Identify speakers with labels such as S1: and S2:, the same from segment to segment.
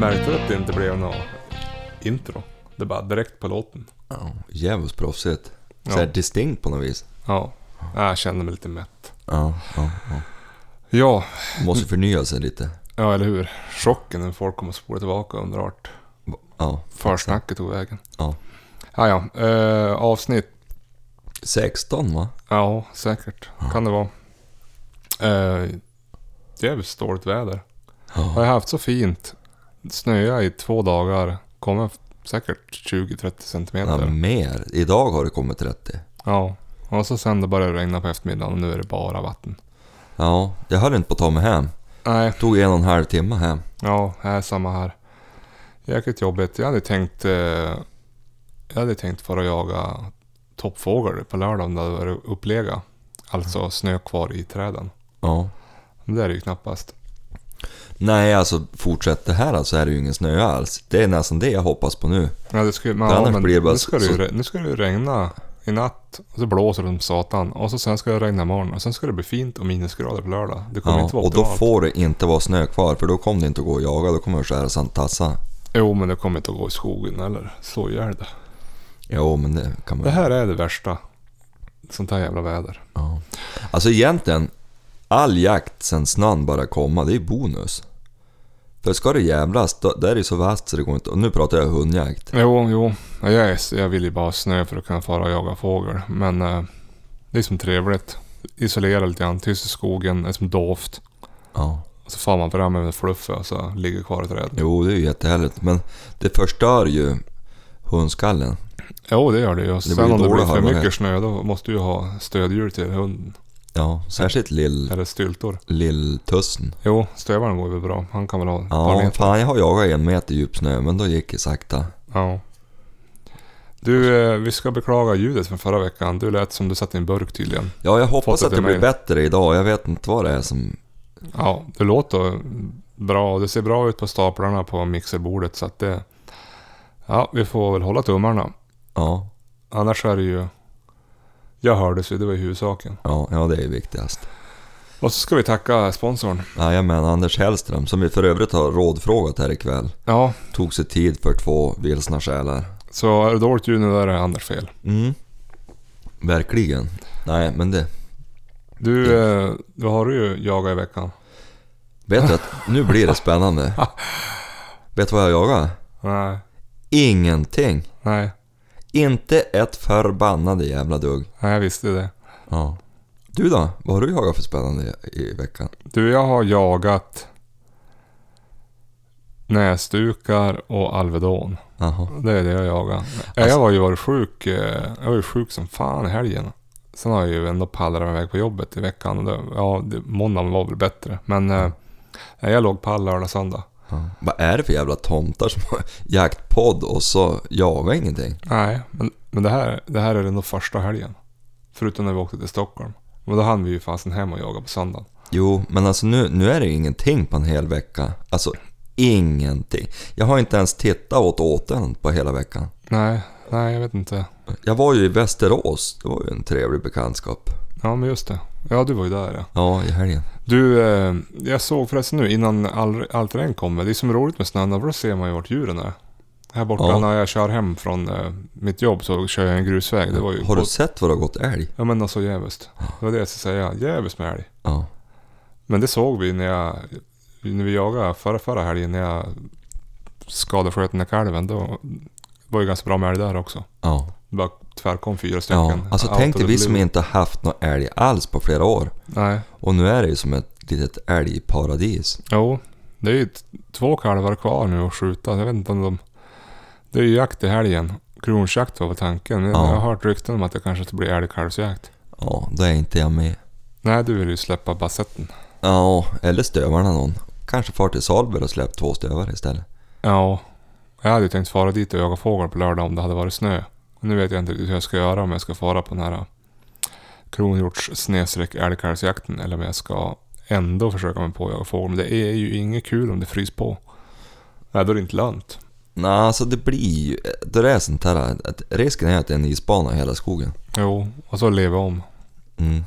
S1: Märkte du att det inte blev något intro? Det är bara direkt på låten.
S2: Ja, Djävulskt proffsigt.
S1: Ja.
S2: Såhär distinkt på något vis.
S1: Ja. Ja, Jag kände mig lite mätt.
S2: Ja, ja, ja.
S1: Ja,
S2: Måste förnya sig lite.
S1: ja eller hur. Chocken när folk kommer spola tillbaka och undrar vart
S2: Ja.
S1: försnacket tog vägen.
S2: Ja.
S1: Ja, ja. Eh, avsnitt
S2: 16 va?
S1: Ja, säkert. Kan det vara. Eh, jävligt dåligt väder. Har
S2: Ja.
S1: jag haft så fint. Snöa i två dagar. Kommer f- säkert 20-30 centimeter.
S2: ja, mer. Idag har det kommit 30.
S1: Ja. Och så sen det började regna på eftermiddagen och nu är det bara vatten.
S2: Ja, jag höll inte på att ta mig hem.
S1: Nej,
S2: Tog en och en halv timme hem.
S1: ja, här är samma här. Jäkligt jobbigt. Jag hade tänkt... Eh, jag hade tänkt för att jaga toppfågel på lördagen där det var upplega. Alltså
S2: Mm.
S1: snö kvar i träden.
S2: Ja.
S1: Men det är det ju knappast.
S2: Nej, alltså fortsätter det här så är det ju ingen snö alls. Det är nästan det jag hoppas på nu.
S1: Ja, det ska, ju- men,
S2: För
S1: ja,
S2: annars
S1: men
S2: blir det bara
S1: nu, ska det ju,
S2: så-
S1: re- nu ska det ju regna i natt och så blåser det som satan och så sen ska det regna imorgon och sen ska det bli fint och minusgrader på lördag. Det kommer
S2: Ja,
S1: inte vara
S2: och då
S1: optimalt.
S2: får det inte vara snö kvar för då kommer det inte att gå att jaga. Då kommer det att skära sandtassa.
S1: Jo, men det kommer inte att gå i skogen eller så gör det.
S2: Jo, men det kan man
S1: Det här är det värsta. Sånt här jävla väder.
S2: Ja. Alltså egentligen, all jakt sen snön bara komma, det är bonus. För ska det jävlas, då, där är det så vasst så det går inte. Och nu pratar jag hundjakt.
S1: Jo, jo. Ja, Jag, är, s- jag vill ju bara ha snö för att kunna fara och jaga fågel. Men eh, det är som trevligt. Isolera lite grann, tyst i skogen, det är som doft.
S2: Ja.
S1: Och så far man fram med fluffet och så ligger kvar i trädet.
S2: Jo, det är ju jättehärligt. Men det förstör ju hundskallen.
S1: Jo, det gör det ju. Och
S2: blir
S1: Sen om det
S2: dålig
S1: blir för
S2: hörbarhet.
S1: mycket snö, då måste du ju ha stödhjul till hunden.
S2: Ja, särskilt lill,
S1: Eller styltor.
S2: lilltussen.
S1: Jo, stövaren går väl bra. Han kan väl ha ett par
S2: Ja,
S1: meter.
S2: fan jag har jagat en meter djup snö, men då gick det sakta.
S1: Ja. Du, eh, vi ska beklaga ljudet från förra veckan. Du lät som du satt i en burk tydligen.
S2: Ja, jag hoppas
S1: Fått
S2: att
S1: ett
S2: det blir
S1: mejl.
S2: bättre idag. Jag vet inte vad det är som...
S1: Ja, det låter bra. Det ser bra ut på staplarna på mixerbordet. Så att det... Ja, vi får väl hålla tummarna.
S2: Ja,
S1: Annars är det ju... Jag hördes ju, det var ju huvudsaken.
S2: ja, ja det är viktigast.
S1: Och så ska vi tacka sponsorn.
S2: Jajamän, Anders Hellström, som vi för övrigt har rådfrågat här ikväll.
S1: Ja,
S2: tog sig tid för två vilsna själar.
S1: så är det dåligt ljud nu, då är det Anders fel.
S2: Mm. Verkligen. Nej, men det...
S1: Du, eh, vad har du ju jagat i veckan?
S2: Vet du att nu blir det spännande. Vet du vad jag jagar?
S1: Nej,
S2: Ingenting.
S1: nej,
S2: Inte ett förbannade jävla dugg.
S1: nej, jag visste det.
S2: Ja. Du då? Vad har du jagat för spännande i- i veckan?
S1: Du, jag har jagat näsdukar och Alvedon.
S2: Jaha.
S1: Det är det jag jagar. Ja, Jag var ju varit sjuk. eh, Jag var ju sjuk som fan i helgen. Sen har jag ju ändå pallrat mig iväg på jobbet i veckan. och det- Ja, det- måndagen var väl bättre. Men eh, jag låg pall lördag, söndag.
S2: Ja. Vad är det för jävla tomtar som har jaktpodd och så jagar ingenting?
S1: Nej, men, men det, här, det här är ändå första helgen. Förutom när vi åkte till Stockholm. Men då hann vi ju fasen hem och jaga på söndagen.
S2: Jo, men alltså nu, nu är det ju ingenting på en hel vecka. Alltså ingenting. Jag har inte ens tittat åt åten på hela veckan.
S1: Nej, nej jag vet inte.
S2: Jag var ju i Västerås. Det var ju en trevlig bekantskap.
S1: Ja, men just det. Ja, du var ju där ja.
S2: Ja, i helgen.
S1: Du, eh, jag såg förresten nu innan all, allt regn kommer. Det är som roligt med snön, för då ser man ju vart djuren är. Här borta
S2: Ja.
S1: när jag kör hem från eh, mitt jobb så kör jag en grusväg. Det var ju...
S2: Har du sett vad det har gått älg?
S1: Ja men alltså jävligt. Det var det jag skulle säga. Jävligt med älg.
S2: Ja.
S1: Men det såg vi när jag... När vi jagade förra, förra helgen när jag skadesköt den där kalven. Då var ju ganska bra med älg där också.
S2: Ja.
S1: Det bara tvärkom fyra stycken.
S2: ja. Alltså
S1: Out
S2: tänk
S1: of
S2: dig
S1: the
S2: vi som
S1: blue.
S2: inte haft någon älg alls på flera år.
S1: Nej.
S2: Och nu är det ju som ett litet älgparadis.
S1: Jo, det är ju t- två kalvar kvar nu att skjuta. Jag vet inte om de... Det är ju jakt i helgen. Kronjakt var väl tanken. Men
S2: Ja.
S1: Jag har hört rykten om att det kanske inte blir älgkalvsjakt.
S2: Ja, då är inte jag med.
S1: Nej, du vill ju släppa bassetten.
S2: Ja, eller stövarna någon. Kanske far till Salberg och släppt två stövare istället.
S1: Ja. Jag hade ju tänkt fara dit och jaga fågel på lördag om det hade varit snö. Nu vet jag inte riktigt hur jag ska göra. Om jag ska fara på den här äh, kronhjorts snedstreck älgkalvsjakten. Eller om jag ska ändå försöka mig på att jaga fågel. Men det är ju inget kul om det fryser på. Nej, då är det inte lönt.
S2: Nej, alltså det blir ju... Då det är sånt här... Att risken är att det är en isbana i hela skogen.
S1: Jo, och så lever jag om.
S2: Mm.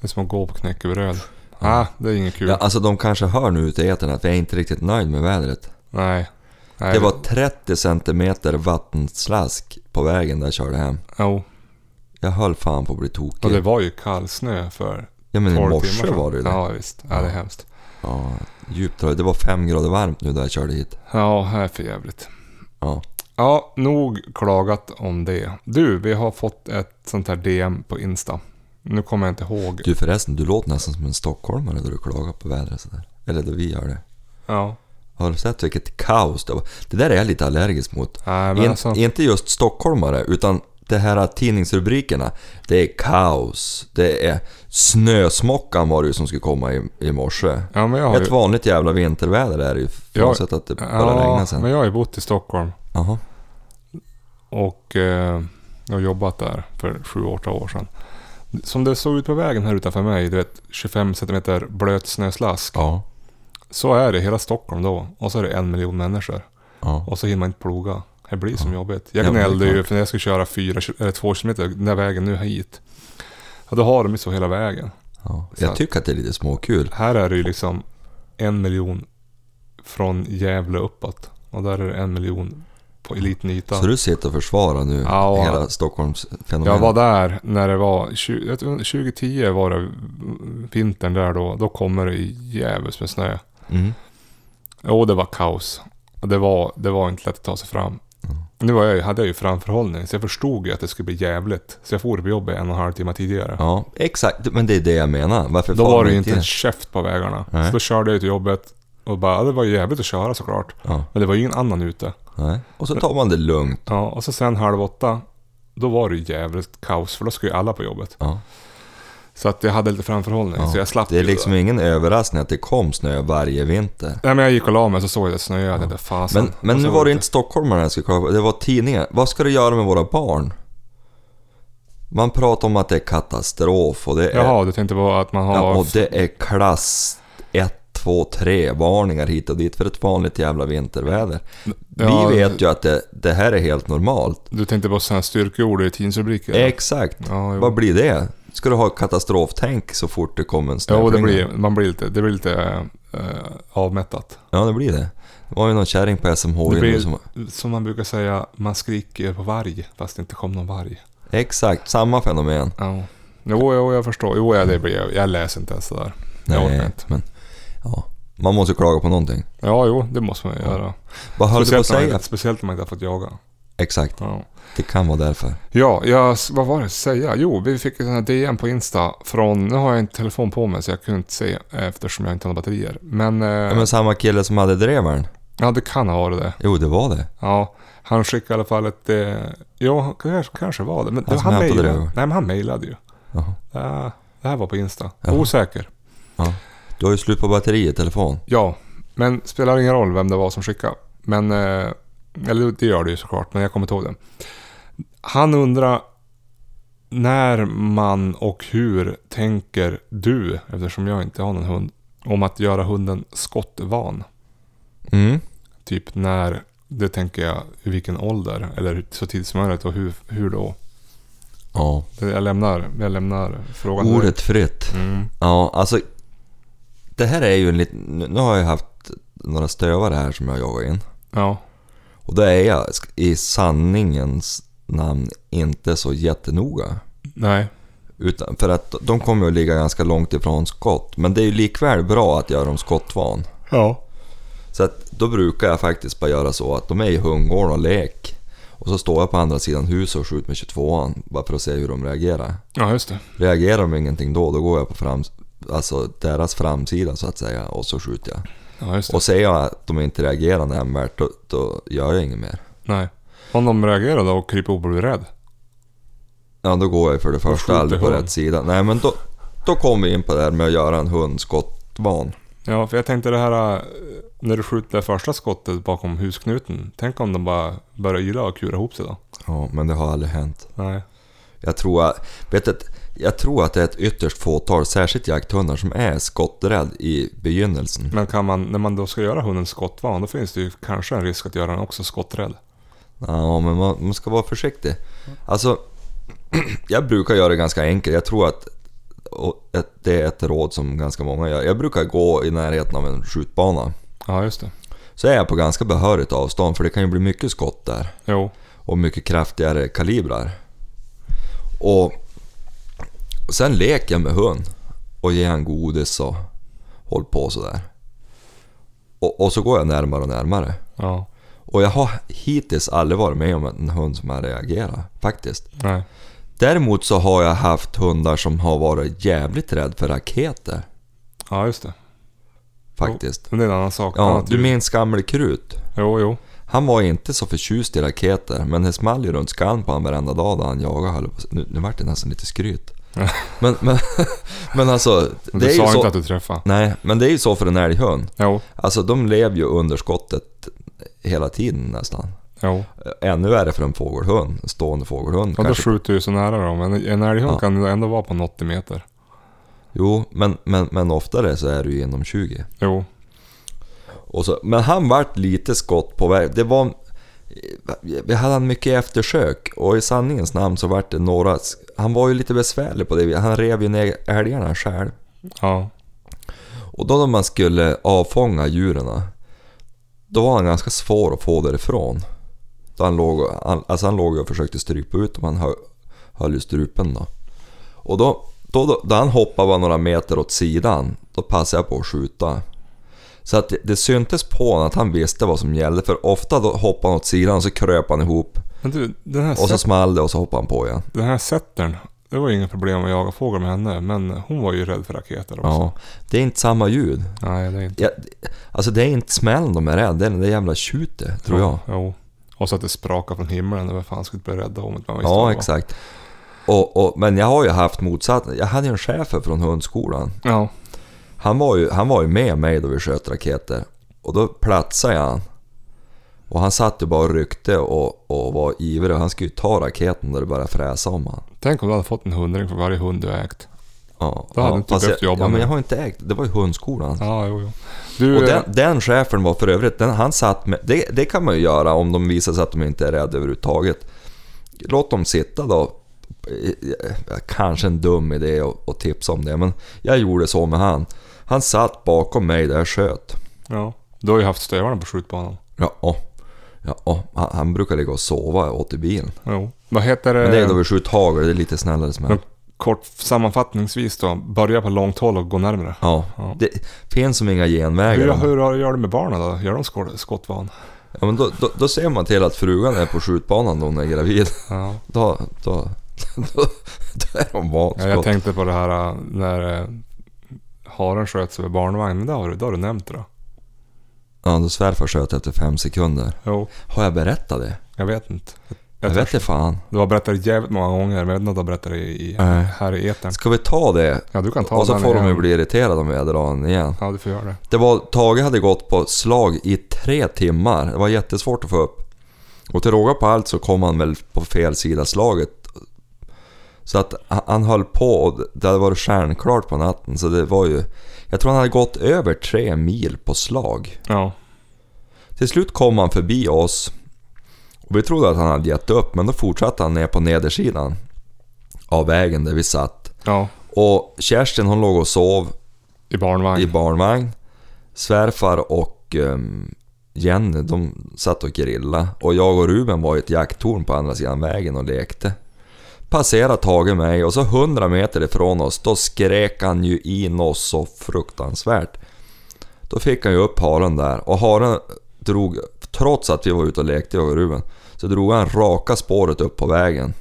S1: Det är som att gå på knäckebröd.
S2: Ja.
S1: Ah, det är inget kul.
S2: Ja, alltså de kanske hör nu ute i etern att jag är inte riktigt nöjd med vädret.
S1: Nej. Nej.
S2: Det var 30 centimeter vattenslask på vägen där jag körde hem.
S1: Jo.
S2: Jag höll fan på att bli
S1: Och
S2: tokig.
S1: det var ju kallsnö för
S2: ja men i
S1: 12
S2: morse
S1: timmar sedan.
S2: var det ju det. Ja.
S1: Ja, visst. Ja, det är hemskt.
S2: djupt röd. Det var fem grader varmt nu där jag körde hit.
S1: Ja, det här är för jävligt.
S2: Ja.
S1: Ja, nog klagat om det. Du, vi har fått ett sånt här DM på Insta. Nu kommer jag inte ihåg.
S2: Du förresten, du låter nästan som en stockholmare då du klagar på vädret sådär. Eller då vi gör det.
S1: Ja.
S2: Har du sett vilket kaos det var? Det där är jag lite allergisk mot.
S1: Nej, men
S2: In,
S1: alltså,
S2: Inte just stockholmare, utan det här tidningsrubrikerna. Det är kaos. Det är snösmockan var det ju som skulle komma i, i morse.
S1: ja, men jag har
S2: Ett
S1: ju,
S2: vanligt jävla vinterväder är det ju. Frånsett att det börjar
S1: ja,
S2: regna sen.
S1: men jag har ju bott i Stockholm
S2: Jaha.
S1: och eh, jag har jobbat där för sju, åtta år sedan. Som det såg ut på vägen här utanför mig, du vet 25 centimeter blöt snöslask.
S2: Ja.
S1: Så är det i hela Stockholm då. Och så är det en miljon människor.
S2: Ja.
S1: Och så hinner man inte ploga. Det blir som jobbigt. Jag
S2: Ja, men det är
S1: gnällde ju
S2: klart.
S1: för när jag skulle köra fyra, ki- eller två kilometer den där vägen nu hit. Ja, då har de ju så hela vägen.
S2: ja. Jag tycker att det är lite småkul.
S1: Här är det ju liksom en miljon från Gävle uppåt. Och där är det en miljon på en liten yta.
S2: Så du sitter och försvarar nu
S1: Ja.
S2: hela Stockholms fenomen.
S1: Jag var där när det var, 20, jag tror 2010 var det vintern där då. Då kommer det jävligt med snö.
S2: Mm.
S1: Jo, det var kaos. Och Det var, det var inte lätt att ta sig fram.
S2: Mm.
S1: Nu var jag, ju- hade jag ju framförhållning, så jag förstod ju att det skulle bli jävligt. Så jag for på jobbet en och en halv timme tidigare.
S2: Ja, exakt. Men det är det jag menar. Varför
S1: då
S2: far
S1: var det
S2: man
S1: ju inte
S2: in?
S1: en käft på vägarna.
S2: Nej.
S1: Så då körde jag till jobbet och bara, ja, det var ju jävligt att köra såklart.
S2: Ja.
S1: Men det var ju ingen annan ute.
S2: Nej. Och så tar man det lugnt.
S1: Ja, och så sen halv åtta, då var det ju jävligt kaos, för då skulle ju alla på jobbet.
S2: Ja.
S1: Så att jag hade lite framförhållning,
S2: Ja.
S1: så jag slapp
S2: Det är
S1: ju-
S2: liksom ingen överraskning att det kom snö varje vinter.
S1: Nej men jag gick och la mig så såg jag det snöade, jag tänkte fasen.
S2: Men, men
S1: Och
S2: nu
S1: så
S2: var det inte stockholmare jag skulle klaga på, det var tidningar. Vad ska du göra med våra barn? Man pratar om att det är katastrof och det är,
S1: Jaha, du tänkte på att man har...
S2: ja, och det är klass 1, 2, 3 varningar hit och dit för ett vanligt jävla vinterväder.
S1: Ja,
S2: Vi vet ju att det, det här är helt normalt.
S1: Du tänkte på sådana här styrkeord i tidningsrubriker?
S2: Exakt.
S1: Ja,
S2: Vad
S1: jo.
S2: blir det? Ska du ha katastroftänk så fort det kommer en
S1: Jo, det
S2: snöflinga?
S1: blir, man blir lite, det blir lite eh, avmättat.
S2: Ja, det blir det. Det var ju någon kärring på SMH
S1: Det
S2: blir...
S1: blir,
S2: som...
S1: som man brukar säga, man skriker på varg fast det inte kom någon varg.
S2: Exakt, samma fenomen.
S1: Ja. Jo, jo, jag förstår. Jo, ja, det blir jag. Jag läser inte ens sådär. Jag orkar inte.
S2: men ja. Man måste ju klaga på någonting.
S1: Ja, jo, det måste man ju göra.
S2: Vad höll du på att
S1: Speciellt när, man,
S2: säga?
S1: inte- speciellt när man inte har fått jaga.
S2: Exakt,
S1: Ja,
S2: det kan vara därför.
S1: ja jag, vad var det jag säga? Jo, vi fick en sån här DM på Insta från... Nu har jag inte telefon på mig så jag kunde inte se eftersom jag inte hade batterier. Men, eh,
S2: Ja, men samma kille som hade drevaren?
S1: ja, det kan ha varit det.
S2: Jo, det var det.
S1: Ja, han skickade i alla fall ett... Eh, ja, kanske, kanske var det. Men
S2: Han
S1: han,
S2: som
S1: han,
S2: hämtade
S1: mejlade,
S2: det,
S1: nej,
S2: va?
S1: men han mejlade ju.
S2: Jaha.
S1: Ja, det här var på Insta.
S2: Jaha.
S1: Osäker.
S2: Du har ju slut på batteri i telefon.
S1: Ja, men spelar ingen roll vem det var som skickade. Men, eh, eller det gör det ju såklart, men jag kommer inte ihåg det. Han undrar när man och hur tänker du, eftersom jag inte har någon hund, om att göra hunden skottvan?
S2: Mm.
S1: Typ när, det tänker jag, i vilken ålder eller så tidigt som möjligt och hur, hur då?
S2: Ja.
S1: Det- Jag lämnar, jag lämnar frågan. där.
S2: Ordet fritt.
S1: Mm.
S2: Ja, alltså. Det här är ju en liten... Nu nu har jag haft några stövare här som jag jagar in.
S1: Ja.
S2: Och då är jag sk- i sanningens namn inte så jättenoga.
S1: Nej.
S2: Utan, för att de kommer ju att ligga ganska långt ifrån skott. Men det är ju likväl bra att göra dem skottvan.
S1: Ja.
S2: Så att då brukar jag faktiskt bara göra så att de är i hundgården och lek. Och så står jag på andra sidan huset och skjuter med 22an bara för att se hur de reagerar.
S1: Ja, just det.
S2: Reagerar de ingenting då, då går jag på frams alltså deras framsida så att säga och så skjuter jag.
S1: Ja, just det.
S2: Och ser jag att de inte reagerar nämnvärt då, då gör jag inget mer.
S1: Nej. Om de reagerar då och kryper upp och blir rädd?
S2: Ja, då går jag för det första
S1: skjuter
S2: aldrig på
S1: hund.
S2: rätt sida. Nej, men då, då kommer vi in på det här med att göra en hundskottvan.
S1: Ja, för jag tänkte det här eh, när du skjuter det första skottet bakom husknuten. Tänk om de bara börjar yla och kura ihop sig då?
S2: Ja, men det har aldrig hänt.
S1: Nej.
S2: Jag tror, att- vet att, jag tror att det är ett ytterst fåtal, särskilt jakthundar, som är skotträdd i begynnelsen.
S1: Men kan man, när man då ska göra hunden skottvan, då finns det ju kanske en risk att göra den också skotträdd.
S2: Ja, men man, man ska vara försiktig. Alltså, jag brukar göra det ganska enkelt. Jag tror att, och att det är ett råd som ganska många gör. Jag brukar gå i närheten av en skjutbana.
S1: Ja, just det.
S2: Så är jag på ganska behörigt avstånd, för det kan ju bli mycket skott där.
S1: Jo.
S2: och mycket kraftigare kalibrar. Och sen leker jag med hund och ger han godis och håll på sådär. Och, och så går jag närmare och närmare.
S1: Ja.
S2: Och jag har hittills aldrig varit med om en hund som har reagerat, faktiskt.
S1: Nej.
S2: Däremot så har jag haft hundar som har varit jävligt rädd för raketer,
S1: Ja, just det.
S2: faktiskt.
S1: Men det är en annan sak.
S2: Ja,
S1: Annat
S2: du
S1: ljud.
S2: minns Gamle Krut?
S1: Jo, jo.
S2: Han var inte så förtjust i raketer, men det small ju runt skallen på honom varenda dag när han jagade. höll jag på att säga. Nu, nu vart det nästan lite skryt. men, men, men alltså,
S1: Men
S2: det är
S1: du sa
S2: ju
S1: inte
S2: så...
S1: att du träffade.
S2: Nej, men det är ju så för en älghund.
S1: Jo,
S2: Alltså de lever ju under skottet hela tiden nästan.
S1: jo.
S2: Ännu värre för en fågelhund, en stående fågelhund
S1: Ja, då
S2: kanske.
S1: skjuter du ju så nära då. Men en älghund
S2: Ja.
S1: kan ju ändå vara på en 80 meter.
S2: Jo, men, men, men oftare så är det ju inom 20.
S1: Jo.
S2: Och så, men han vart lite skott på väg. Det var... Vi hade han mycket eftersök och i sanningens namn så vart det några... Han var ju lite besvärlig på det Han rev ju ner älgarna själv.
S1: Ja.
S2: Och då när man skulle avfånga djuren, då var han ganska svår att få därifrån. Då han, låg, och- han, alltså han låg och försökte strypa ut dem, han hö- höll i strupen då. Och då, då, då, då han hoppade bara några meter åt sidan, då passade jag på att skjuta. Så att det, det syntes på honom att han visste vad som gällde, för ofta då hoppade han åt sidan och så kröp han ihop
S1: Men du, den här,
S2: och så
S1: set,
S2: small det och så hoppade han på igen.
S1: den här settern. Det var ju inga problem att jaga fågel med henne. Men hon var ju rädd för raketer också.
S2: Ja, det är inte samma ljud.
S1: Nej, det är inte.
S2: Ja, det- alltså det är inte smällen de är rädda, det är det där jävla tjutet tror jag.
S1: Jo. Och så att det sprakar från himlen. Vem fan skulle bli rädd om att man visste vad det
S2: Ja,
S1: var.
S2: exakt. Och, och, men jag har ju haft motsatt. Jag hade ju en chef från hundskolan.
S1: Ja.
S2: Han var, ju, han var ju med mig då vi sköt raketer. Och då platsade jag han. Och han satt ju bara och ryckte och, och var ivrig. Han skulle ju ta raketen när det började fräsa om han.
S1: Tänk om du hade fått en hundring för varje hund du ägt.
S2: Ja,
S1: Då hade
S2: ja,
S1: du inte
S2: fast
S1: behövt
S2: jag,
S1: jobba
S2: ja, men
S1: med
S2: jag
S1: det.
S2: har inte ägt. Det var ju hundskolan.
S1: Ja, jo, jo. Du,
S2: Och
S1: eh,
S2: den, den chefen var för övrigt, den, han satt med, det, det kan man ju göra om de visar sig att de inte är rädda överhuvudtaget. Låt dem sitta då. Eh, Kanske en dum idé att att tipsa om det, men jag gjorde så med han. Han satt bakom mig där jag sköt.
S1: ja. du har ju haft stövarna på skjutbanan.
S2: Ja, ja, han, han brukar ligga och sova åt i bilen.
S1: Jo. Vad heter
S2: Men det är då
S1: det?
S2: vi skjuter hagel, det är lite snällare smäll.
S1: Eh. Men kort sammanfattningsvis då. Börja på långt håll och gå närmare.
S2: Ja,
S1: Ja.
S2: det finns som inga
S1: Hur,
S2: genvägar.
S1: hur gör du med barnen då? Gör de skott, skottvan?
S2: Ja, men då, då, då ser man till att frugan är på skjutbanan då när hon är gravid.
S1: Ja.
S2: Då, då, då, då är de
S1: Ja, jag
S2: vanskott.
S1: tänkte på det här äh, när äh, haren sköts över barnvagn. Men det har du, det har du nämnt det då.
S2: Ja, då svärfar sköt efter fem sekunder.
S1: Jo,
S2: Har jag berättat det?
S1: jag vet inte. Jag,
S2: Jag,
S1: tror-
S2: vet inte fan.
S1: Du har berättat det jävligt många gånger, men jag vet inte om du har berättat det i, i,
S2: Nej.
S1: här i etern.
S2: Ska vi ta det?
S1: Ja, du kan ta
S2: Och så
S1: den
S2: får de ju
S1: igen.
S2: bli irriterade om jag drar den igen.
S1: Ja, du får göra det.
S2: Det var, Tage hade gått på slag i tre timmar. Det var jättesvårt att få upp. Och till råga på allt så kom han väl på fel sida slaget. Så att han- han höll på och det hade varit stjärnklart på natten. Så det var ju... Jag tror han hade gått över tre mil på slag.
S1: Ja,
S2: Till slut kom han förbi oss och vi trodde att han hade gett upp men då fortsatte han ner på nedersidan av vägen där vi satt.
S1: ja.
S2: Och Kerstin hon låg och sov
S1: i barnvagn.
S2: i barnvagn. Svärfar och ehm, Jenny de satt och grillade och jag och Ruben var i ett jakttorn på andra sidan vägen och lekte. Passerade Tage mig och så 100 meter ifrån oss då skrek han ju in oss så fruktansvärt. Då fick han ju upp haren där och haren drog, trots att vi var ute och lekte jag och Ruben, så drog han raka spåret upp på vägen.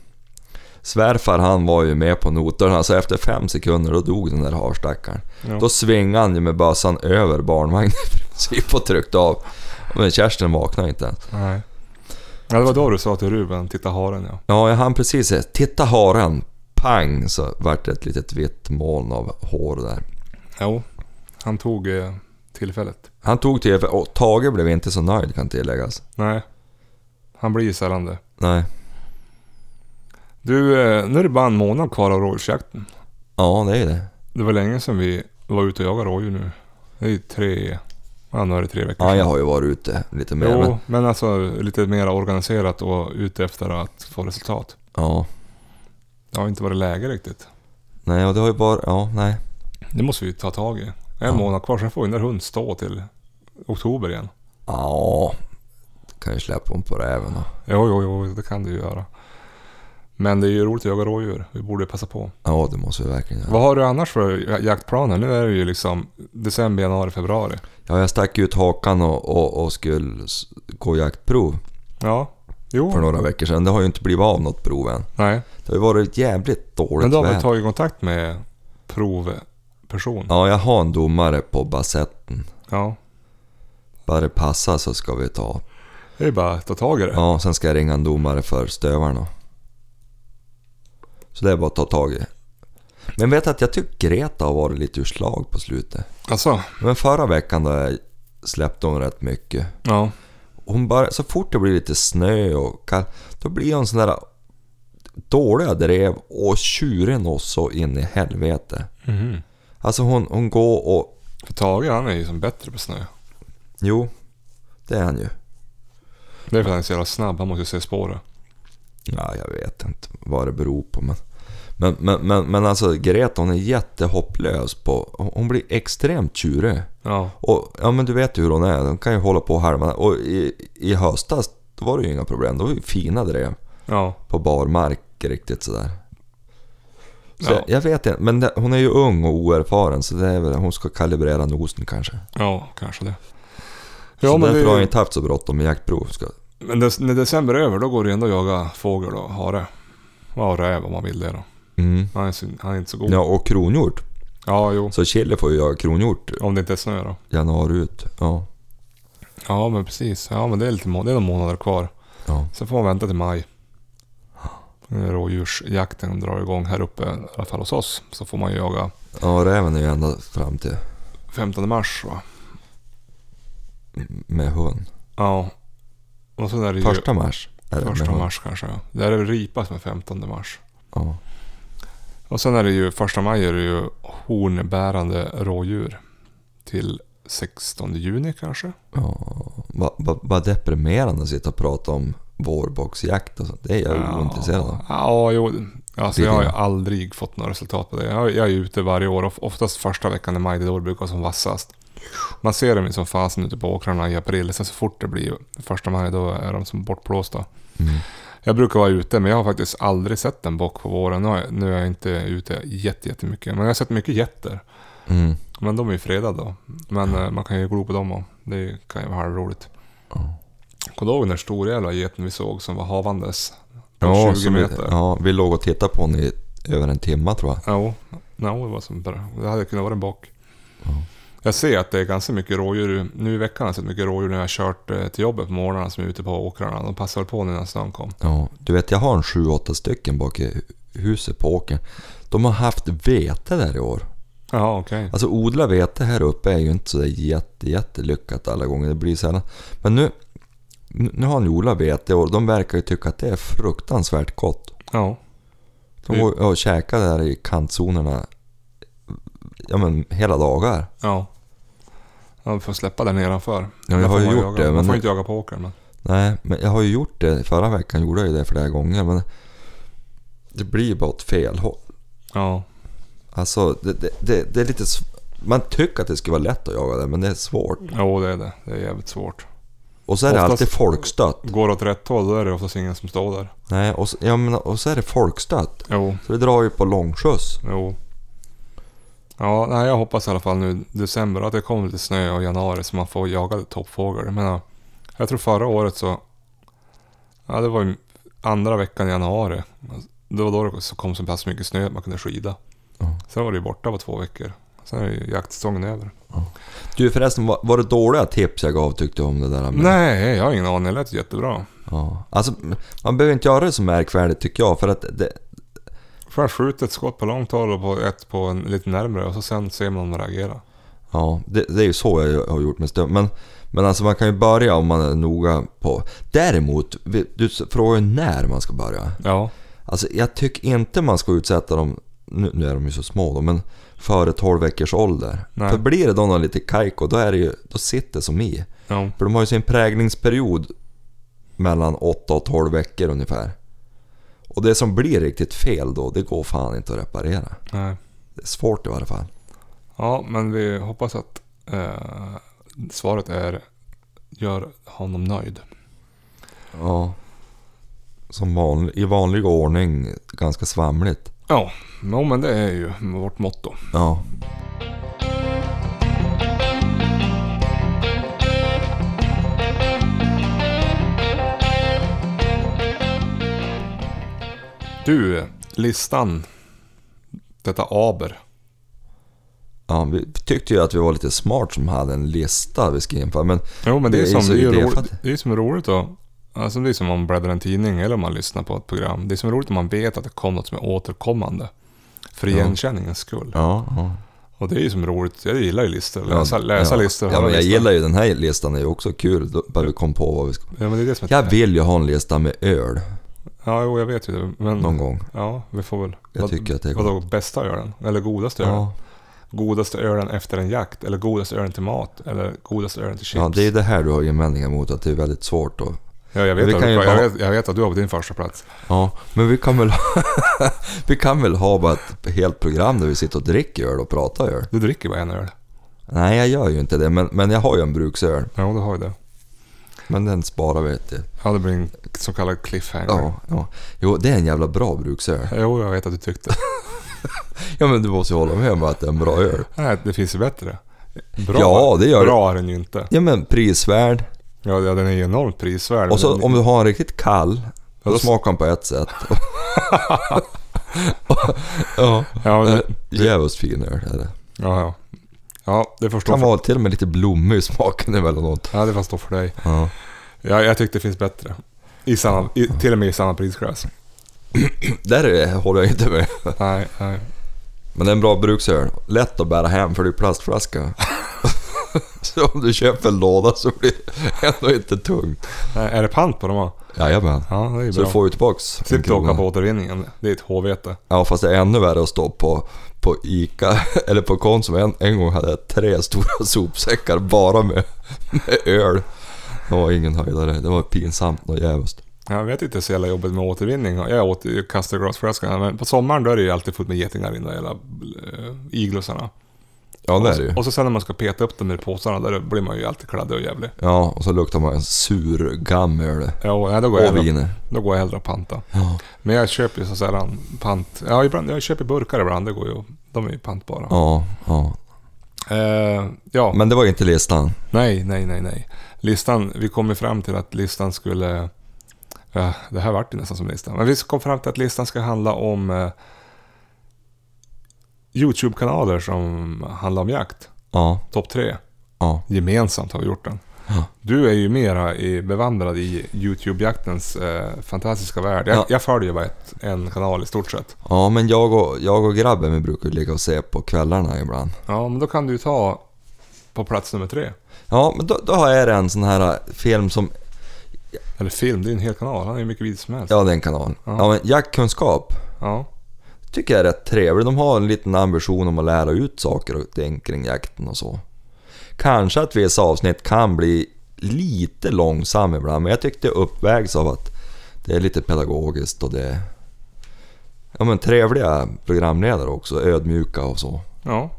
S2: Svärfar han var ju med på noterna så efter fem sekunder då dog den där harstackaren.
S1: Ja.
S2: Då svingade han ju med bössan över barnvagnen i princip och tryckte av. Men Kerstin vaknade inte ens.
S1: Nej. Ja, det var då du sa till Ruben, titta haren ja.
S2: Ja, jag hann precis säga “Titta haren!” Pang! Så vart det ett litet vitt moln av hår där.
S1: Jo, han tog eh, tillfället.
S2: Han tog till och Tage blev inte så nöjd kan tilläggas.
S1: Nej, han blir ju sällan det.
S2: Nej.
S1: Du, eh, nu är det bara en månad kvar av rådjursjakten.
S2: Ja, det är ju det.
S1: Det var länge sedan vi var ute och jagade rådjur nu. Det är ju tre... Ja, nu är det tre veckor
S2: Ja,
S1: sedan.
S2: jag har ju varit ute lite mer. Men,
S1: Jo, men alltså lite mer organiserat och ute efter att få resultat.
S2: ja,
S1: Det har inte varit läge riktigt.
S2: nej, och det har ju bara... Ja, nej.
S1: Det måste vi ta tag i. En
S2: Ja.
S1: månad kvar, sen får ju den där hunden stå till oktober igen.
S2: Ja, kan ju släppa hon på räven då.
S1: Jo, jo, jo, det kan du ju göra. Men det är ju roligt att jaga rådjur. Vi borde passa på.
S2: Ja, det måste vi verkligen göra.
S1: Vad har du annars för ja- jaktplaner? Nu är det ju liksom december, januari, februari.
S2: Ja, jag stack ut hakan och, och, och skulle s- gå jaktprov
S1: Ja. Jo.
S2: för några veckor sedan. Det har ju inte blivit av något prov än.
S1: Nej.
S2: Det har ju varit jävligt dåligt
S1: Men då har
S2: väder.
S1: vi tagit kontakt med provperson. Ja.
S2: Ja, jag har en domare på basetten. Bara det passar så ska vi ta.
S1: Det är bara att ta tag i det.
S2: Ja, sen ska jag ringa en domare för stövarna. Så det är bara att ta tag i. Men vet att jag tycker Greta har varit lite ur slag på slutet.
S1: Alltså,
S2: Men förra veckan då jag släppte hon rätt mycket.
S1: ja.
S2: Hon bara, så fort det blir lite snö och kallt, då blir hon sån där dåliga drev och tjuren också in i helvete.
S1: Mhm.
S2: Alltså hon, hon går och...
S1: För Tage han är ju som bättre på snö.
S2: Jo, det är han ju.
S1: Det är för att han är så jävla snabb. Han måste ju se spåret.
S2: Ja, jag vet inte vad det beror på. Men, men, men, men, men alltså Greta hon är jättehopplös på... Hon blir extremt tjurig.
S1: Ja.
S2: Och ja, men du vet ju hur hon är. Hon kan ju hålla på och härma. Och i, i höstas då var det ju inga problem. Då var det ju fina drev
S1: Ja.
S2: på bar mark riktigt sådär.
S1: Ja.
S2: Så jag, jag vet inte, men det, hon är ju ung och oerfaren så det är väl, hon ska kalibrera nosen kanske.
S1: Ja, kanske det.
S2: så
S1: Ja, men,
S2: därför har jag
S1: det,
S2: inte haft så bråttom med jaktprov. Ska,
S1: men des, när december är över då går det ändå att jaga fågel och hare. Ja, räv om man vill det då.
S2: mm.
S1: Han är, så- han är inte så god.
S2: Ja,
S1: Ja,
S2: och kronhjort.
S1: jo.
S2: Så Chile får ju jaga kronhjort
S1: Om det inte är snö då.
S2: januari ut. Ja.
S1: Ja, men precis. Ja, men det är lite må- det är några månader kvar.
S2: ja.
S1: Sen får man vänta till maj. När Rådjursjakten drar igång här uppe, i alla fall hos oss. Så får man ju jaga
S2: Ja, räven är ju ända fram till
S1: 15 mars va?
S2: med hund.
S1: Ja. Och sen är det ju...
S2: Första mars är det med
S1: första
S2: hund.
S1: mars kanske ja. Där är det ripa som är 15 mars.
S2: Ja.
S1: Och sen är det ju första maj är det ju hornbärande rådjur. Till 16 juni kanske.
S2: Ja. Vad va, va deprimerande att sitta och prata om vårboxjakt och sånt. Det är jag ju ointresserad av.
S1: Ja, jo. Alltså, jag har ju
S2: Lite
S1: aldrig fått några resultat på det. Jag, jag är ju ute varje år. of- Oftast första veckan i maj, det är då det brukar vara som vassast. Man ser dem ju som fasen ute på åkrarna i april. Sen så fort det blir första maj, då är de som bortblåsta.
S2: Mm.
S1: Jag brukar vara ute, men jag har faktiskt aldrig sett en bock på våren. Nu har jag- Nu är jag inte ute jätte- jättemycket, men jag har sett mycket getter.
S2: Mm.
S1: Men de är ju fredade då. Men eh, man kan ju glo på dem och det kan ju vara halvroligt.
S2: Ja.
S1: Kommer du ihåg den där stora jävla geten vi såg som var havandes? På
S2: Ja,
S1: 20
S2: så vi,
S1: meter.
S2: ja, vi låg och tittade på honom i över en timme tror jag.
S1: Ja, no, det var som bra. Det hade kunnat vara en bock.
S2: Ja.
S1: Jag ser att det är ganska mycket rådjur. Nu i veckan har jag sett mycket rådjur när jag har kört eh, till jobbet på morgnarna som är ute på åkrarna. De passar väl på nu när snön kom.
S2: Ja, du vet jag har en sju, åtta stycken bak i huset på åkern. De har haft vete där i år.
S1: Jaha, okej.
S2: Alltså odla vete här uppe är ju inte så där jätte, jättelyckat alla gånger. Det blir sällan. Men nu, nu nu har han ju odlat vete och de verkar ju tycka att det är fruktansvärt gott.
S1: Ja.
S2: De
S1: Mm.
S2: går och käkar där i kantzonerna ja, men hela dagar.
S1: ja. Ja, vi får släppa den nedanför.
S2: jag
S1: Där får
S2: har ju
S1: man
S2: gjort
S1: jaga.
S2: det,
S1: Man
S2: men
S1: får
S2: det-
S1: inte jaga på åkern. Men...
S2: Nej, men jag har ju gjort det. Förra veckan gjorde jag ju det flera gånger. Men det blir bara åt fel håll.
S1: Ja.
S2: Alltså, det, det, det, det är lite... sv- Man tycker att det skulle vara lätt att jaga det, men det är svårt.
S1: Jo, det är det. Det är jävligt svårt.
S2: Och så är det
S1: Oftast-
S2: alltid folkstött.
S1: Går åt rätt håll, då är det oftast ingen som står där.
S2: Nej, och så, ja, men, och så är det folkstött.
S1: Jo,
S2: Så det drar ju på långskjuts.
S1: jo. Ja, nej, jag hoppas i alla fall nu i december att det kommer lite snö och januari så man får jaga lite toppfågel. Jag menar, jag tror förra året så... Ja, det var ju andra veckan i januari. Det var då det så kom så pass mycket snö att man kunde skida.
S2: Ja.
S1: Sen var det ju borta på två veckor. Sen är ju jaktsäsongen över.
S2: Du förresten, var, var det dåliga tips jag gav tyckte du om det där? med-
S1: Nej, jag har ingen aning. Det lät jättebra.
S2: Ja. Alltså, man behöver inte göra det så märkvärdigt tycker jag. För att det,
S1: Först skjuter ett skott på långt håll och på ett på en lite närmre och så sen ser man om de reagerar.
S2: Ja, det, det är ju så jag har gjort med stöv. Men, men alltså man kan ju börja om man är noga på... Däremot, vi- du s- frågar ju när man ska börja.
S1: Ja.
S2: Alltså jag tycker inte man ska utsätta dem, nu, nu är de ju så små då, men före 12 veckors ålder.
S1: Nej.
S2: För blir det då någon lite kajko, då, är det ju, då sitter det som i.
S1: Ja.
S2: För de har ju sin präglingsperiod mellan 8 och 12 veckor ungefär. Och det som blir riktigt fel då, det går fan inte att reparera.
S1: Nej.
S2: Det är svårt i varje fall.
S1: Ja, men vi hoppas att eh, svaret är gör honom nöjd.
S2: Ja. Som vanlig, i vanlig ordning ganska svamligt.
S1: Ja, jo, men det är ju vårt motto.
S2: Ja.
S1: Du, listan. Detta aber.
S2: ja. Vi tyckte ju att vi var lite smart som hade en lista vi skulle införa. Men
S1: Jo, men det,
S2: Det
S1: är,
S2: är
S1: som,
S2: så
S1: det, är ju roligt,
S2: idéfattigt.
S1: det är ju som roligt att... Alltså det är som om man bläddrar i en tidning eller om man lyssnar på ett program. Det är som roligt om man vet att det kom något som är återkommande. För
S2: Ja.
S1: igenkänningens skull.
S2: ja, ja.
S1: Och det är ju som roligt. Jag gillar ju listor. Läsa,
S2: Ja,
S1: läsa
S2: ja.
S1: listor.
S2: Ja,
S1: höra
S2: men jag
S1: listor.
S2: gillar ju den här listan, det är ju också kul. Då börjar vi komma på vad vi ska...
S1: Ja, men det är det som är...
S2: Jag vill ju ha en lista med öl
S1: Ja, jo, jag vet ju det. Men...
S2: någon gång.
S1: Ja, vi får väl...
S2: Jag tycker att det är
S1: Vadå, bästa ölen? Eller godaste ölen?
S2: Ja,
S1: Godaste ölen efter en jakt? Eller godaste ölen till mat? Eller godaste ölen till chips?
S2: ja, det är det här du har invändningar mot, att det är väldigt svårt då.
S1: Ja, jag,
S2: Vi
S1: vet att,
S2: kan ju
S1: jag,
S2: bara-
S1: vet, jag vet att du har på din första plats.
S2: Ja, men vi kan väl Vi kan väl ha bara ett helt program där vi sitter och dricker öl och pratar öl?
S1: Du dricker bara en öl.
S2: Nej, jag gör ju inte det, men, men jag har ju en bruksöl.
S1: Ja, du har ju det.
S2: Men den sparar vi till...
S1: Ja, det blir en så kallad cliffhanger.
S2: Ja, ja. Jo, det är en jävla bra bruksöl.
S1: Jo, jag vet att du tyckte.
S2: Ja, men du måste ju hålla med om att det är en bra öl.
S1: Nej, det finns ju bättre. Bra,
S2: Ja, det gör det.
S1: Bra är den ju inte.
S2: Ja, men prisvärd.
S1: Ja, ja, den är ju enormt prisvärd.
S2: Och
S1: men
S2: så
S1: den-
S2: om du har en riktigt kall,
S1: Ja, då-
S2: då smakar den på ett sätt. ja,
S1: Ja, det,
S2: jävligt fin öl är det.
S1: ja, ja. Ja, det får stå
S2: Kan
S1: för,
S2: vara till och med lite blommig i smaken emellanåt.
S1: ja, det får stå för dig.
S2: Ja.
S1: Ja, jag tyckte det finns bättre. I samma, i, till och med i samma prisklass.
S2: Där är- håller jag inte med.
S1: Nej, nej.
S2: Men det är en bra bruksöl. Lätt att bära hem för det är plastflaska. så om du köper en låda så blir det ändå inte tungt.
S1: nej. Är det pant på dem? va?
S2: Jajamän.
S1: Ja, det är ju
S2: Så
S1: bra.
S2: du får ju tillbaks en
S1: Slipper
S2: krona.
S1: typ åka på återvinningen. Det är ett h-vete.
S2: Ja fast det är ännu värre att stå på, på ICA eller på Konsum. En, en gång hade jag tre stora sopsäckar bara med, med öl. Det var ingen höjdare. Det var pinsamt och jävligt.
S1: Jag vet inte så jävla jobbet med återvinning. Jag åt, jag kastar glasflaskan, men på sommaren då är det ju alltid fullt med getingar i de där jävla eh, iglosarna.
S2: Ja det är det ju.
S1: Och så sen när man ska peta upp dem i påsarna, där blir man ju alltid kladdig och jävlig.
S2: Ja och så luktar man en sur gammel
S1: Ja, nej, då går jag
S2: och
S1: hellre,
S2: viner.
S1: då går jag hellre och panta.
S2: Ja.
S1: Men jag köper ju så sällan pant. Ja, ibland, jag köper burkar ibland, det går ju. De är ju pantbara. Ja,
S2: Ja, ja.
S1: eh, ja.
S2: Men det var inte listan.
S1: nej, nej, nej, nej. Listan, vi kom ju fram till att listan skulle... Ja, det här vart ju nästan som listan. Men vi kom fram till att listan ska handla om eh, YouTube-kanaler som handlar om jakt.
S2: Ja,
S1: Topp tre.
S2: ja.
S1: Gemensamt har vi gjort den.
S2: Ja.
S1: Du är ju mera i, bevandrad i YouTube-jaktens eh, fantastiska värld. Jag,
S2: Ja.
S1: jag följer ju bara ett, en kanal i stort sett.
S2: Ja, men jag och, jag och grabben vi brukar ju ligga och se på kvällarna ibland.
S1: Ja, men då kan du ju ta på plats nummer tre.
S2: Ja, men då, då har jag en sån här äh, film som...
S1: Eller film, det är ju en hel kanal. Han är ju mycket vid som helst. Ja.
S2: Ja, det är en kanal.
S1: Ja.
S2: Ja, men jaktkunskap tycker jag är rätt trevlig. De har en liten ambition om att lära ut saker och ting kring jakten och så. Kanske att vissa avsnitt kan bli lite långsamma ibland, men jag tyckte det uppvägs av att det är lite pedagogiskt och det... Ja, men trevliga programledare också, ödmjuka och så.
S1: ja.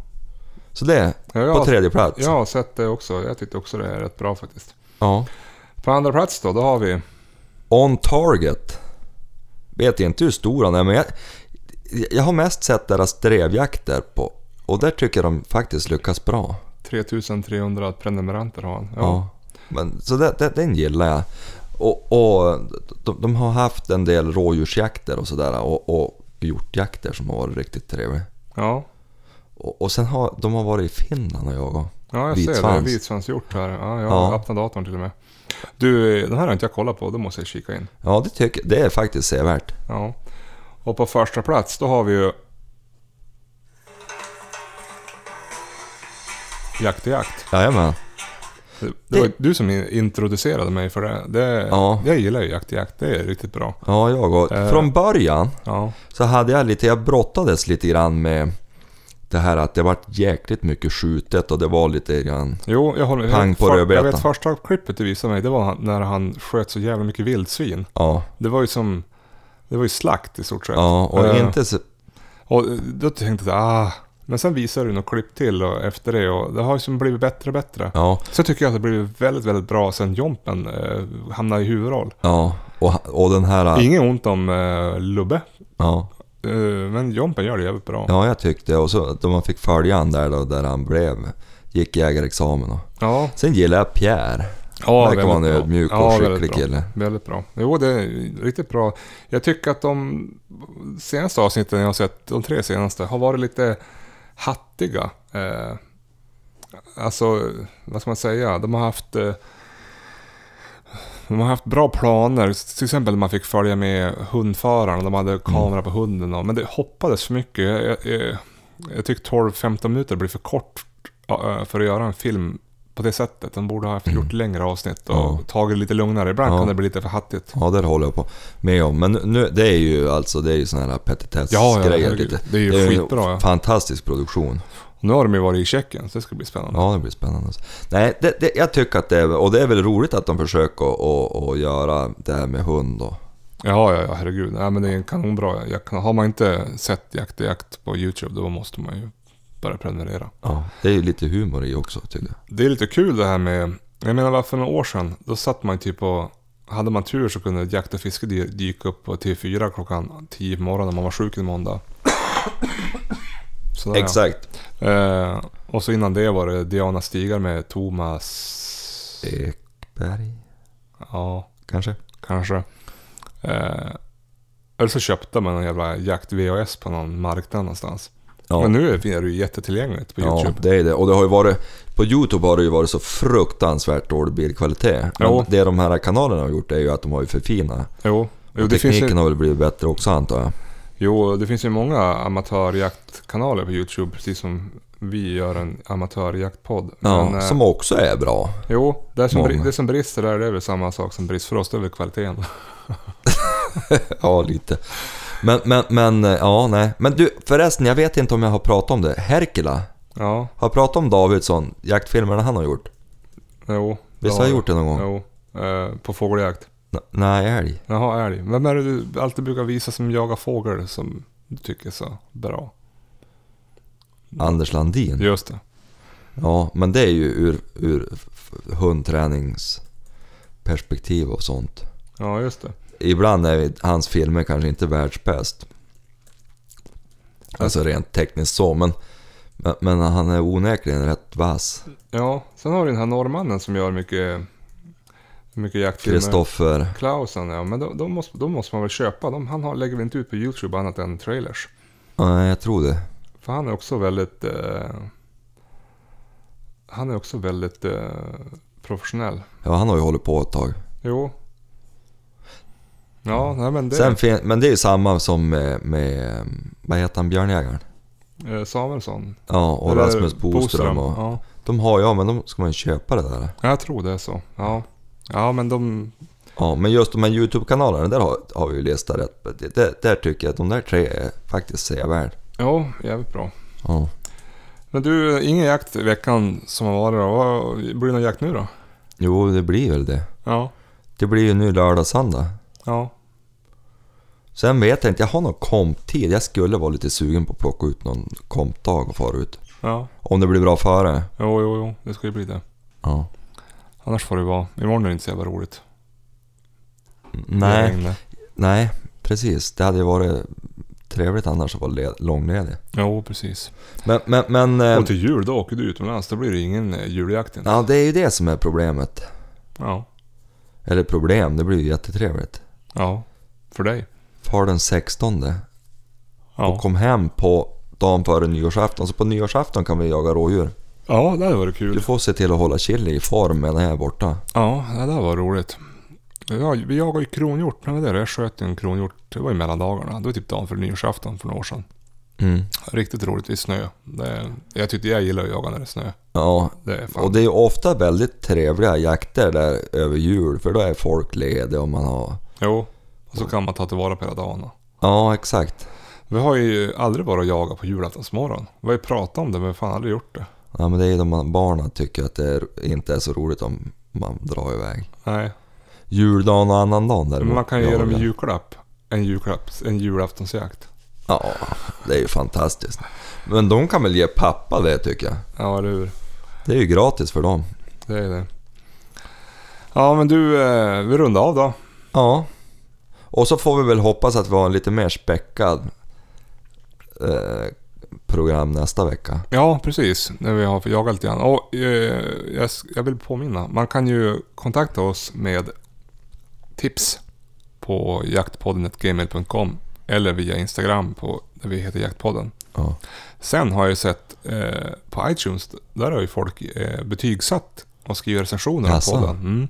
S2: Så det,
S1: Ja, jag,
S2: på tredje plats.
S1: jag har sett det eh, också. Jag tyckte också det är rätt bra faktiskt.
S2: ja.
S1: På andra plats då, då har vi...
S2: On Target. Vet inte hur stor han är, men jag, jag har mest sett deras drevjakter på och där tycker jag de faktiskt lyckas bra.
S1: 3300 prenumeranter har han. Ja.
S2: Men, så det, det, den gillar jag. Och, och de, de har haft en del rådjursjakter och sådär och, och hjortjakter som har varit riktigt trevliga.
S1: Ja,
S2: Och, och sen har de har varit i Finland och jagat.
S1: ja jag ser det.
S2: Vitsvans.
S1: Vitsvansgjort här. Ja, jag har
S2: Ja.
S1: öppnat datorn till och med. Du, den här har inte jag kollat på. Då måste jag kika in.
S2: Ja, det, tycker, det är faktiskt sevärt.
S1: Ja. Och på första plats, då har vi ju... Jakt i jakt.
S2: Jajamän.
S1: Det, det var du som introducerade mig för det. det
S2: Ja.
S1: Jag gillar ju jakt-jakt, det är riktigt bra.
S2: Ja, jag och.
S1: Eh.
S2: Från början
S1: Ja,
S2: så hade jag lite, jag brottades lite grann med det här att det vart jäkligt mycket skjutet och det var lite grann...
S1: jo, jag håller
S2: Pang
S1: jag,
S2: på
S1: för-
S2: rödbetan.
S1: Jag vet första klippet du visade mig, det var han- när han sköt så jävla mycket vildsvin.
S2: Ja,
S1: Det var ju som, det var ju slakt i stort sett.
S2: ja och
S1: Eh,
S2: inte så...
S1: Och då tänkte jag, ah. Men sen visade du något klipp till och efter det och det har ju som blivit bättre och bättre.
S2: Ja,
S1: Så tycker jag att det blivit väldigt, väldigt bra sen Jompen eh, hamnade i huvudroll.
S2: ja. Och, och den här...
S1: Inget ont om eh, Lubbe,
S2: Ja,
S1: eh, men Jompen gör det jävligt bra.
S2: ja, jag tyckte. Och så då man fick följa han där då, där han blev... Gick jägarexamen och...
S1: Ja,
S2: Sen gillar jag Pierre.
S1: ja
S2: Verkar vara en
S1: bra.
S2: ödmjuk och
S1: Ja, väldigt
S2: skicklig
S1: bra.
S2: kille.
S1: Väldigt bra. Jo, det är riktigt bra. Jag tycker att de senaste avsnitten jag har sett, de tre senaste, har varit lite hattiga. Eh, alltså, vad ska man säga? De har haft... Eh, de har haft bra planer, till exempel när man fick följa med hundföraren och de
S2: Mm.
S1: hade kamera på hunden. Och, men det hoppades för mycket. Jag, jag, jag tycker 12-15 minuter blir för kort eh, för att göra en film på det sättet. De borde ha haft gjort längre avsnitt och
S2: Mm. Ja.
S1: tagit det lite lugnare. Ibland
S2: Ja.
S1: kan det bli lite för hattigt.
S2: Ja, där håller jag på med om. Men nu, det är ju alltså, det är ju sån här
S1: Ja, ja,
S2: petitessgrejer
S1: herregud.
S2: lite.
S1: det är ju
S2: Det är ju-
S1: skitbra. Ja.
S2: Fantastisk produktion.
S1: Nu har de ju varit i Tjeckien, så det ska bli spännande.
S2: Ja, det blir spännande. Nej, det, det, jag tycker att det är, och det är väl roligt att de försöker att, att, att göra det här med hund och...
S1: Ja, ja, ja herregud. Nej, men det är en kanonbra jakt. Har man inte sett Jakt i jakt på YouTube, då måste man ju börja prenumerera.
S2: Ja. Det är ju lite humor i också tycker jag.
S1: Det är lite kul det här med... Jag menar, för några år sedan, då satt man ju typ och... Hade man tur så kunde jakt och fiske dy- dyka upp på TV4 klockan 10 på morgonen när man var sjuk en måndag. Sådär, ja.
S2: Exakt.
S1: Eh, och så innan det var det Diana Stigar med Thomas...
S2: Ekberg,
S1: Ja,
S2: kanske?
S1: kanske. Eh, eller så köpte man en jävla jakt-VHS på någon marknad någonstans.
S2: Ja.
S1: Men nu är det ju jättetillgängligt på
S2: Ja,
S1: YouTube.
S2: det är det. Och det har ju varit... På YouTube har det ju varit så fruktansvärt dålig bildkvalitet. Men
S1: Jo.
S2: det de här kanalerna har gjort är ju att de har ju förfinat.
S1: Jo, jo,
S2: Och
S1: det finns
S2: tekniken
S1: ju,
S2: har väl blivit bättre också antar jag.
S1: jo, det finns ju många amatörjaktkanaler på YouTube, precis som vi gör en amatörjaktpodd.
S2: Ja,
S1: Men, eh,
S2: som också är bra.
S1: jo, det som, bri-
S2: många.
S1: det som brister där det är väl samma sak som brist för oss, det är väl kvaliteten.
S2: Ja, lite. Men, men, men, eh, ja, nej. Men du, förresten, jag vet inte om jag har pratat om det. Herkula.
S1: Ja,
S2: Har jag pratat om Davidsson, jaktfilmerna han har gjort?
S1: jo. det
S2: Visst har jag gjort det någon gång?
S1: Jo, eh, på fågeljakt.
S2: N- Nej, älg.
S1: Jaha, älg. Vem är det du alltid brukar visa som jagar fågel som du tycker är så bra?
S2: Anders Landin.
S1: Just det.
S2: Ja, men det är ju ur, ur f- hundträningsperspektiv och sånt.
S1: Ja, just det.
S2: Ibland är vi- hans filmer kanske inte världsbäst. Alltså rent tekniskt så, men, men, men han är onekligen rätt vass.
S1: Ja, sen har du den här norrmannen som gör mycket, mycket jaktfilmer.
S2: Kristoffer.
S1: Klausen, ja. Men de, de, måste, de måste man väl köpa. De, han har, lägger väl inte ut på YouTube annat än trailers.
S2: Nej, jag tror det.
S1: För han är också väldigt... Eh, han är också väldigt eh, professionell.
S2: Ja, han har ju hållit på ett tag.
S1: Jo. Ja, nej men det...
S2: Sen fin- men det är ju samma som med, med eh, vad heter han, Björnjägaren?
S1: eh, Samuelsson.
S2: Ja, och
S1: Eller
S2: Rasmus Boström. Och,
S1: Ja.
S2: De har ju, ja men de ska man ju köpa det där.
S1: Ja, jag tror det är så. Ja, ja men de...
S2: Ja, men just de här YouTube-kanalerna, där har, har vi ju listat rätt. Det, det, där tycker jag att de där tre är faktiskt sevärd.
S1: Ja, jävligt bra.
S2: Ja.
S1: Men du, ingen jakt i veckan som har varit då. Vad- Blir det någon jakt nu då?
S2: Jo, det blir väl det.
S1: Ja.
S2: Det blir ju nu lördag, söndag.
S1: Ja.
S2: Sen vet jag inte, jag har någon komptid. Jag skulle vara lite sugen på att plocka ut någon kompdag och fara ut.
S1: Ja.
S2: Om det blir bra före.
S1: Jo, jo, jo. Det ska ju bli det.
S2: Ja.
S1: Annars får det vara. Imorgon är det inte så jävla roligt. Det
S2: Nej,
S1: regnar.
S2: nej, precis. Det hade ju varit trevligt annars att vara led- långledig.
S1: Jo, precis.
S2: Men, men, men... eh,
S1: Och till jul då åker du utomlands. Då blir det ingen eh, juljakt inte.
S2: Ja, det är ju det som är problemet.
S1: Ja.
S2: Eller problem, det blir ju jättetrevligt.
S1: Ja. För dig.
S2: Far den 16 och
S1: Ja.
S2: kom hem på dagen före nyårsafton. Så på nyårsafton kan vi jaga rådjur.
S1: Ja, det hade varit
S2: Du
S1: kul.
S2: får se till att hålla chili i form medan jag är borta.
S1: Ja, det där var roligt. Ja, vi jagade ju kronhjort. Nej, men det är det. Jag sköt ju en kronhjort. Det var ju mellan dagarna. Det var typ dagen för nyårsafton för några år sedan.
S2: Mm.
S1: Riktigt roligt vid snö. Det, jag tyckte jag gillar att jaga när det är snö.
S2: Ja,
S1: Det är fan.
S2: och det är ju ofta väldigt trevliga jakter där över jul för då är folk lediga och man har...
S1: Jo, och så kan man ta tillvara på hela dagarna.
S2: Ja, exakt.
S1: Vi har ju aldrig varit och jagat på julaftonsmorgon. Vi har ju pratat om det men vi har fan aldrig gjort det.
S2: Ja, men det är ju de man- barnen tycker att det är, inte är så roligt om man drar iväg.
S1: Nej,
S2: Juldagen och annandagen däremot.
S1: men man kan ju ge dem en
S2: jagar.
S1: julklapp. En julklapp, en julaftonsjakt.
S2: Ja, det är ju fantastiskt. Men de kan väl ge pappa det tycker jag.
S1: Ja, eller hur.
S2: Det är ju gratis för dem.
S1: Det är det. Ja, men du, eh, vi rundar av då.
S2: Ja. Och så får vi väl hoppas att vi har en lite mer späckad eh, program nästa vecka.
S1: Ja, precis. När vi har jagat lite grann. Och eh, jag, s- jag vill påminna. Man kan ju kontakta oss med tips på jaktpodden.gmail.com eller via Instagram på där vi heter Jaktpodden.
S2: Ja.
S1: Sen har jag ju sett eh, på iTunes, där har ju folk eh, betygsatt och skrivit recensioner om
S2: Jaså?
S1: podden. Mm.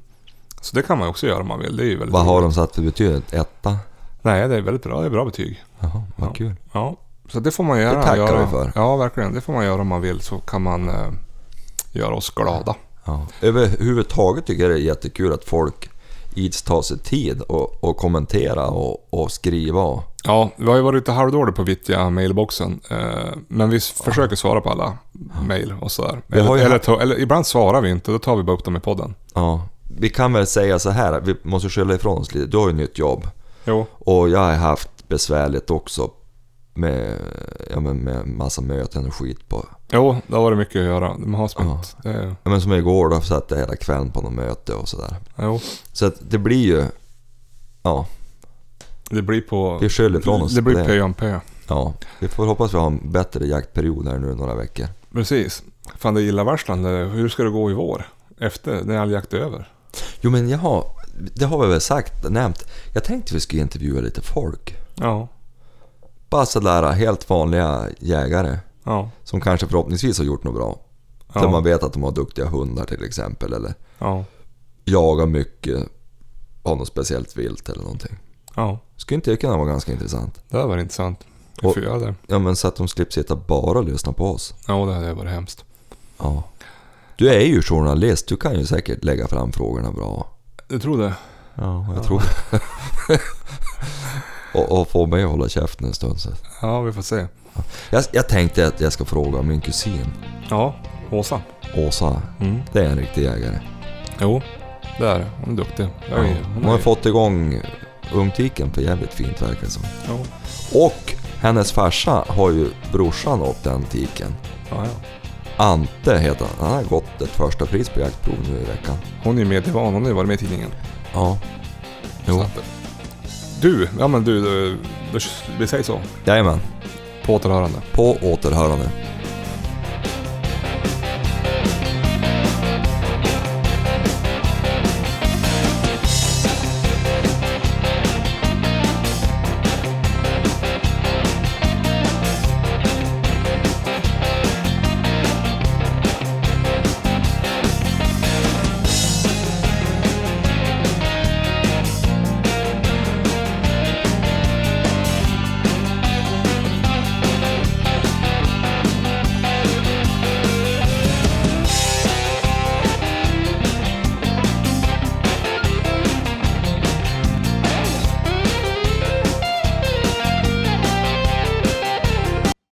S1: Så det kan man ju också göra om man vill. Det är ju väldigt
S2: Vad har
S1: roligt.
S2: de satt för betyg? Etta?
S1: Nej, det är väldigt bra. Det är bra betyg.
S2: Jaha, vad
S1: Ja.
S2: kul.
S1: Ja, så det får man göra.
S2: Det tackar
S1: göra.
S2: vi för.
S1: Ja, verkligen. Det får man göra om man vill så kan man eh, göra oss glada.
S2: Ja. Överhuvudtaget tycker jag det är jättekul att folk ids ta sig tid och, och kommentera och, och skriva. Och,
S1: Ja, vi har ju varit lite halvdåliga på vittja mailboxen. Eh, men vi s- försöker svara på alla mail och sådär.
S2: Vi har
S1: Eller,
S2: ju
S1: eller,
S2: haft-
S1: ta, eller ibland svarar vi inte, då tar vi bara upp dem i podden.
S2: ja. Vi kan väl säga så här, vi måste skylla ifrån oss lite. Du har ju nytt jobb.
S1: Jo,
S2: Och jag har haft besvärligt också med, ja, men med massa möten och skit på.
S1: jo det har varit mycket att göra. De har spänt. Eh,
S2: Ja, men som igår då satt jag hela kvällen på något möte och sådär.
S1: jo,
S2: Så att det blir ju... Ja,
S1: det blir på...
S2: vi skyller ifrån oss
S1: Det
S2: på
S1: blir pö om pö.
S2: Ja, vi får hoppas vi har en bättre jaktperiod här nu i några veckor.
S1: Precis. Fan, det är illavarslande. Hur ska det gå i vår? Efter, när all jakt är över?
S2: Jo men jag har, det har vi väl sagt, nämnt. Jag tänkte vi skulle intervjua lite folk.
S1: Ja,
S2: Bara sådär helt vanliga jägare
S1: ja,
S2: som kanske förhoppningsvis har gjort något bra. Där man
S1: ja.
S2: vet att de har duktiga hundar till exempel eller
S1: ja.
S2: jagar mycket av något speciellt vilt eller någonting.
S1: ja.
S2: Skulle inte det kunna vara ganska intressant?
S1: Det hade varit intressant. Vi
S2: Och-
S1: får göra det.
S2: Ja men så att de slipper sitta bara och lyssna på oss.
S1: Ja, det hade varit hemskt.
S2: Ja. Du är ju journalist, du kan ju säkert lägga fram frågorna bra.
S1: Du tror det?
S2: Ja, jag tror det. och, och få mig att hålla käften en stund. Så.
S1: Ja, vi får se.
S2: Jag, jag tänkte att jag ska fråga min kusin
S1: Ja, Åsa.
S2: Åsa.
S1: Mm.
S2: Det är en riktig jägare.
S1: Jo, där. Hon är duktig.
S2: Ja,
S1: Oj,
S2: hon har fått igång ungtiken på jävligt fint verkar det som.
S1: Ja,
S2: Och hennes farsa har ju brorsan åt den tiken.
S1: ja, ja.
S2: Ante heter han. Han har gått ett första pris på jaktprov nu i veckan.
S1: Hon är ju med i van. Hon har ju varit med i tidningen.
S2: Ja.
S1: Så
S2: Jo.
S1: att- Du, ja men du, du, du, vi säger så.
S2: Jajamän.
S1: På återhörande.
S2: På återhörande.